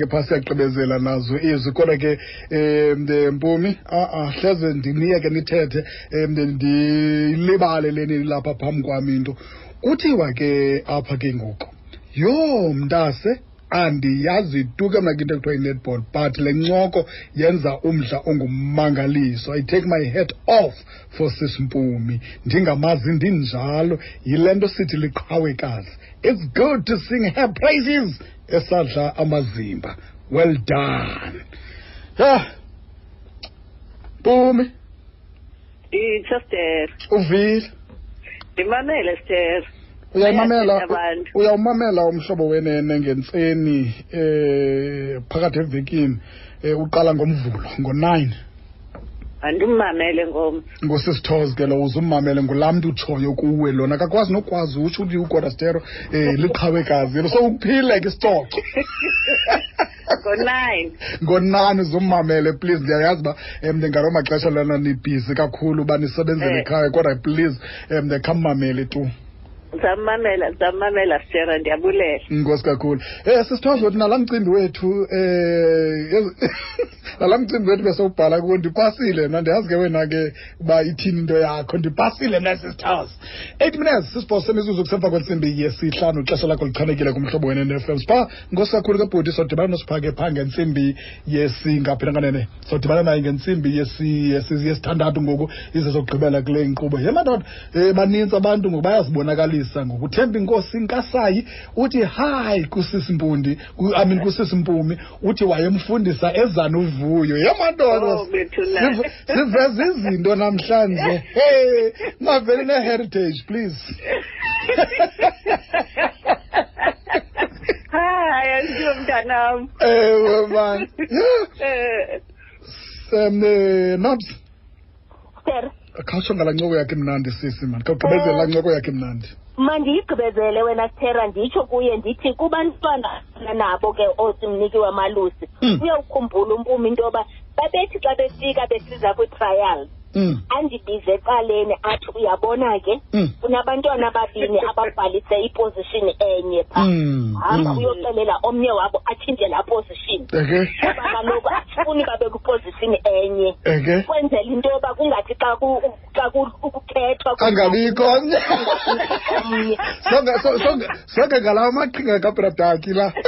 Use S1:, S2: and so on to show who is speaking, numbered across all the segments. S1: ke phasi yagqibezela nazo izwi kodwa ke um mpumi a-a hleze ndiniyeke nithethe um ndilibale leni lapha phambi kwam into kuthiwa ke apha ke ngoku yho mntase andiyazi tu ke mna ke into ekuthiwa yi-netball but le ncoko yenza umdla ongummangaliso i take my head off for sisimpumi ndingamazi ndinjalo yile nto sithi liqhawekazi it's good to sing her praises esadla amazimba well done yha mpumi
S2: Itsho Esther.
S1: uvile
S2: Ndimamele Esther.
S1: uyayimamela
S2: Bayathetha abantu.
S1: uyawumamela umhlobo wenene ngentseni eh phakathi evekini eh uqala ngomvulo ngo-9
S2: Andimamele ngom.
S1: ngosisithozi ke lo uzummamele ngulaa mntu utshoyo kuwe lona kakwazi nokwazi utsho uthi ugodastero um liqhawekazi lo sowuphile ke isicoco
S2: Ngo9.
S1: ngonani uzummamele please ndiyayazi uba um ngaloo maxesha lana nibhizi kakhulu uba nisebenzele
S2: Eh.
S1: ekhaya kodwa please um khammamele tu
S2: Zamamela, zamamela Esther ndiyabulela.
S1: inkosi kakhulu um sisithozo thi nalaa mcimbi wethu um nalaa mcimbi wethu besewubhala kuwo ndipasile mna ndiyazi ke wena ke uba ithini into yakho ndipasile mna sisithozo eight minutes sisibhozo semizuzu kusemva kwentsimbi yesihlanu ixesha lakho lichanekile kumhlobo wena ne-fm sipha nkosi kakhulu kebhuti sodibana nosiphake phaa ngentsimbi yesingaphinanganene sodibana naye ngentsimbi yesi- yesi- yesithandathu ngoku ize sokugqibela kule nkqubo ye madoda um banintsi abantu ngoku bayazibonakalisa ngoku thembi inkosi nkasayi uthi hayi kusisimpundi ku- i mean kusisimpumi uthi wayemfundisa ezana uvuyo ye madoda
S2: Oh, bethu na.
S1: sive- siveze izinto namhlanje hey mavele ne-heritage please
S2: Hayi, andiyo mntanam.
S1: ewe mani
S2: Eh,
S1: um nobs
S3: Esther,
S1: khawutsho ngalaa ncoko yakhe mnandi sisi mani khawugqibezele laa ncoko yakhe mnandi
S3: mandiyigqibezele wena Stera nditsho kuye ndithi kubantwana nabo ke oosimniki wamalusi
S1: Mm.
S3: uyawukhumbula umpumi into yoba babethi xa befika besiza kwi-trial
S1: mm,
S3: andibize ecaleni athi uyabona ke
S1: mm,
S3: kunabantwana ababini ababhalise iposition enye phaa
S1: mm,
S3: hamba
S1: mm.
S3: uyoxelela omnye wabo atshintshe laa position
S1: eke
S3: kuba kaloku asifuni babe kwiposition enye
S1: eke
S3: kwenzela into yoba kungathi xa ku- xa ku- ukukhethwa
S1: angabikho
S3: omnye
S1: Sonke- so- sonke- sonke ngalawa maqhinga kabradaki la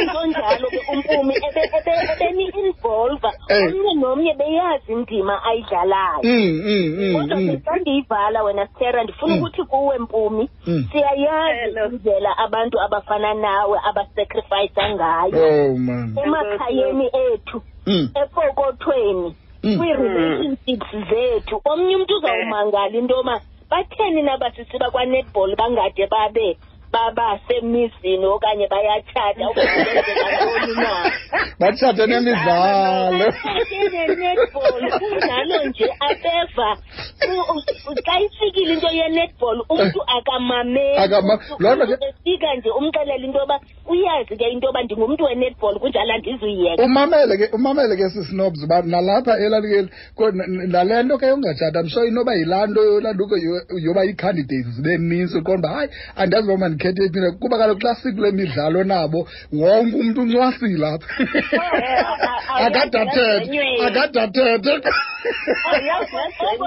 S3: ngonjalo ke umpumi ebeni-involva
S1: Eh.
S3: omnye nomnye beyazi indima ayidlalayo
S1: Mm, mm, mm,
S3: kodwa ke
S1: mm.
S3: xa ndiyivala wena stera ndifuna
S1: Mm.
S3: ukuthi kuwe mpumi
S1: Mm.
S3: siyayazi
S2: Hello.
S3: indlela abantu abafana nawe abasacrifayisa ngayo
S1: oh man
S3: emakhayeni ethu
S1: Mm,
S3: epokothweni
S1: mm.
S3: kwii-relationships
S1: Hmm.
S3: zethu omnye umntu uzawumangala
S1: Eh.
S3: into yoba batheni nabasisiba kwanetball bangade babe babasemizini okanye bayatshata okanye benzeka ntoni na
S1: batshate nemidlalo
S3: nenetball kunjalo nje abeva u- u- xa ifikile into yenetball umntu akamameli
S1: Akama- loo nto ke-
S3: Umntu efika nje umxelela into yoba uyazi ke into yoba ndingumntu wenetball kunjalo andizuyiyeka
S1: umamele ke umamele ke sisinobs uba nalapha elalikeli ko- n- n- nale nto ke ungatshata msho inoba yilaa nto yolaa nto ke yo- yoba ii-candidates zibe ninzi uqonda uba hayi andazi uba mandikhethe ephina kuba kaloku xa sikule midlalo nabo wonke umntu uncwasile apha akadathete akadathete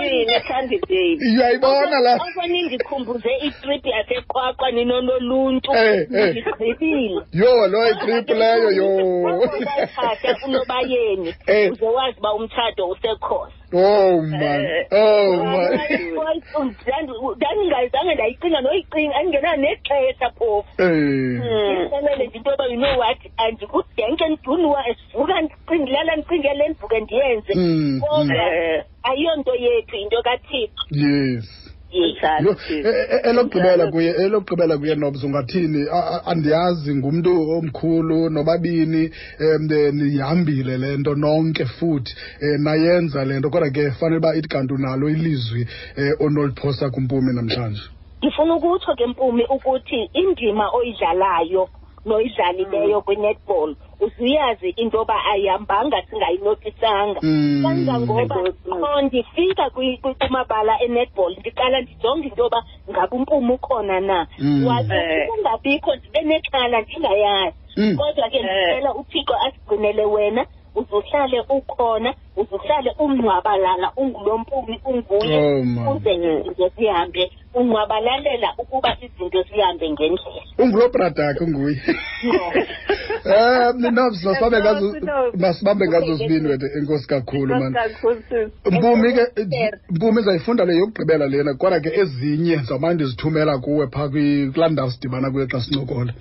S2: Yini candidate.
S1: uyayibona la
S3: okoni ndikhumbuze itripi yaseqwaqwa ninonoluntu
S1: Eh, eh.
S3: ndigqibile
S1: yho loo itripu leyo yho
S3: Wakubathatha unobayeni
S1: Eh.
S3: uze wazi uba umtshato usekhosa
S1: oh man oh man
S3: ndandingazange ndayicinga noyicinga andingenao nexesha phofu
S1: Eh.
S2: Hmm.
S3: ndixelele nje into yoba you know what andikudenke ndidunuwa esivuka ndicingilala ndicingele ndivuke ndiyenze
S1: Mm,
S3: kodwa
S1: mm.
S2: Eh,
S3: ayiyonto yethu yinto kathixo
S1: yes
S3: yethu
S1: Yo,
S2: njalo.
S1: e- e-
S2: Eh,
S1: elokugqibela kuye elokugqibela kuye nobs ungathini A- a- andiyazi ngumntu omkhulu nobabini um nihambile le nto nonke futhi um nayenza le nto kodwa ke fanele uba ithi kanti unalo ilizwi um onoliphosa kumpumi namhlanje
S3: ndifuna ukutsho ke mpumi ukuthi indima oyidlalayo noyidlalileyo
S1: Mm.
S3: kwi-netball uzuyazi into yoba ayihambanga singayinotisanga
S1: Mm.
S3: kangangoba qho ndifika kwi- kwi- kumabala enetball ndiqala ndijonge into yoba ngaba umpumi ukhona na
S1: Mm.
S3: wathi
S2: Eh.
S3: ungabikho ndibe nexhala ndingayazi
S1: Mm.
S3: kodwa ke
S2: Eh.
S3: ndicela uthixo asigcinele wena uzuhlale ukhona uzuhlale umngcwabalala ungulompumi unguye
S1: Oh, man.
S3: uze izinto zihambe ungcwabalalela ukuba izinto zihambe ngendlela
S1: ungulobrada ke nguye
S2: eh,
S1: um ninobso sabe ngazo
S2: Nobs, Nobs.
S1: masibambe ngazo zibini wethu enkosi kakhulu mani
S2: Kakhulu, sis.
S1: mpumi ke
S3: Sir.
S1: mpumi ndizayifunda eh, le yokugqibela lena kodwa ke ezinye zamane ndizithumela kuwe phaa kwi- kulaa ndawo sidibana kuyo xa sincokola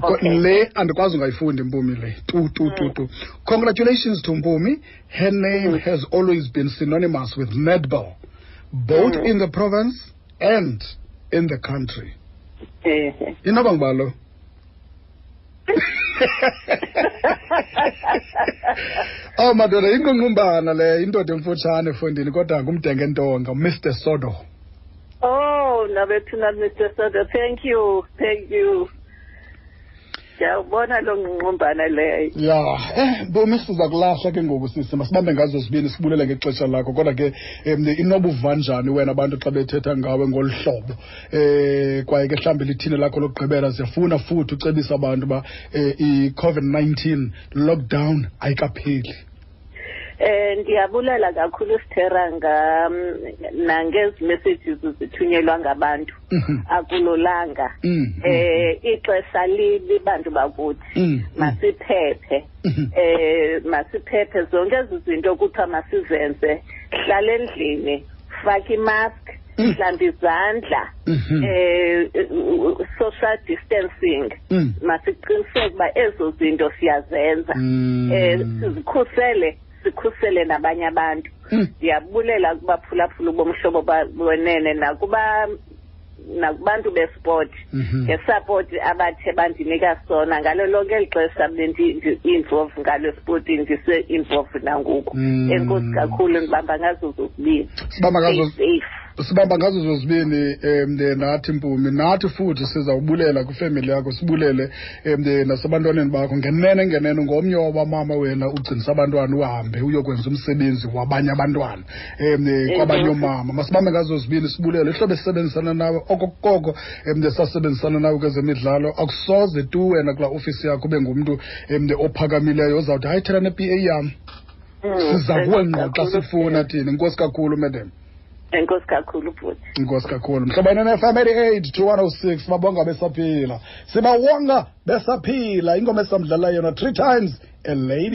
S1: Ko-
S3: Okay. Mm.
S1: le andikwazi ungayifundi mpumi le tu tu tu tu congratulations to mpumi her name has always been synonymous with netball both
S3: Mm.
S1: in the province and in the country
S2: Eh, eh.
S1: inoba ngubalo Oh madoda inqunqumbana le indoda emfutshane efundini kodwa ngumdengentonga Mr Sodo.
S2: Oh, nabethuna Mr. Soda, thank you, thank you. Ndiyawubona loo ngqungqumbana leyo.
S1: Ya, eh bomi siza kulahla ke ngoku sisi masibambe ngazo sibini sibulele ngexesha lakho kodwa ke em, inobuvanjani wena abantu xa bethetha ngawe ngolu hlobo eh kwaye ke mhlawumbi lithini lakho lokugqibela siyafuna futhi ucebisa abantu ba eh, i-covid-19 lockdown ayikapheli
S2: Eh ndiyabulela kakhulu Sithera nga nangezi messages zithunyelwa ngabantu.
S1: Mhm,
S2: Akulolanga.
S1: mhm,
S2: Eh ixesha libi bantu bakuthi.
S1: mhm,
S2: Masiphephe.
S1: mhm.
S2: eh masiphephe zonke ezi zinto kuthiwa masizenze hlala endlini faka imask
S1: Mm.
S2: hlambi izandla
S1: Mhm.
S2: eh u- u- social distancing
S1: Mm.
S2: masiqiniseke uba ezo zinto siyazenza
S1: Mm.
S2: eh sizikhusele sikhusele nabanye abantu
S1: Mm.
S2: ndiyabulela kubaphulaphula bomhlobo ba- wenene nakuba nakubantu besport
S1: Mhm.
S2: ngesapoti abathe bandinika sona ngalo lonke eli xesha bendi-involve ngalo spoti ndise-involve nangoku
S1: Mm.
S2: enkosi kakhulu ndibamba ngazo zozibini
S1: Sibamba ngazo
S2: Stay safe
S1: sibamba ngazo zozibini um nathi mpumi nathi futhi sizawubulela kwifemeli yakho sibulele um nasebantwaneni bakho ngenene ngenene ngomnye wabamama wena ugcinisa abantwana uhambe uyokwenza umsebenzi wabanye abantwana um kwabanye oomama masibambe ngazo zibini sibulele ihlobo esisebenzisana nawe okokoko um sasebenzisana nawe kwezemidlalo akusoze tu wena kulaa ofisi yakho ube ngumntu um ophakamileyo ozawuthi hayi thela ne-p a yam
S2: Mm,
S1: siza kuwe ngqo xa
S2: enkosi kakhulu.
S1: sifuna thina inkosi kakhulu madam
S2: enkosi kakhulu bhuti
S1: inkosi kakhulu mhlobene ne-fm 88 2106 babonga besaphila sibawonga besaphila ingoma esamdlala yona three times a lady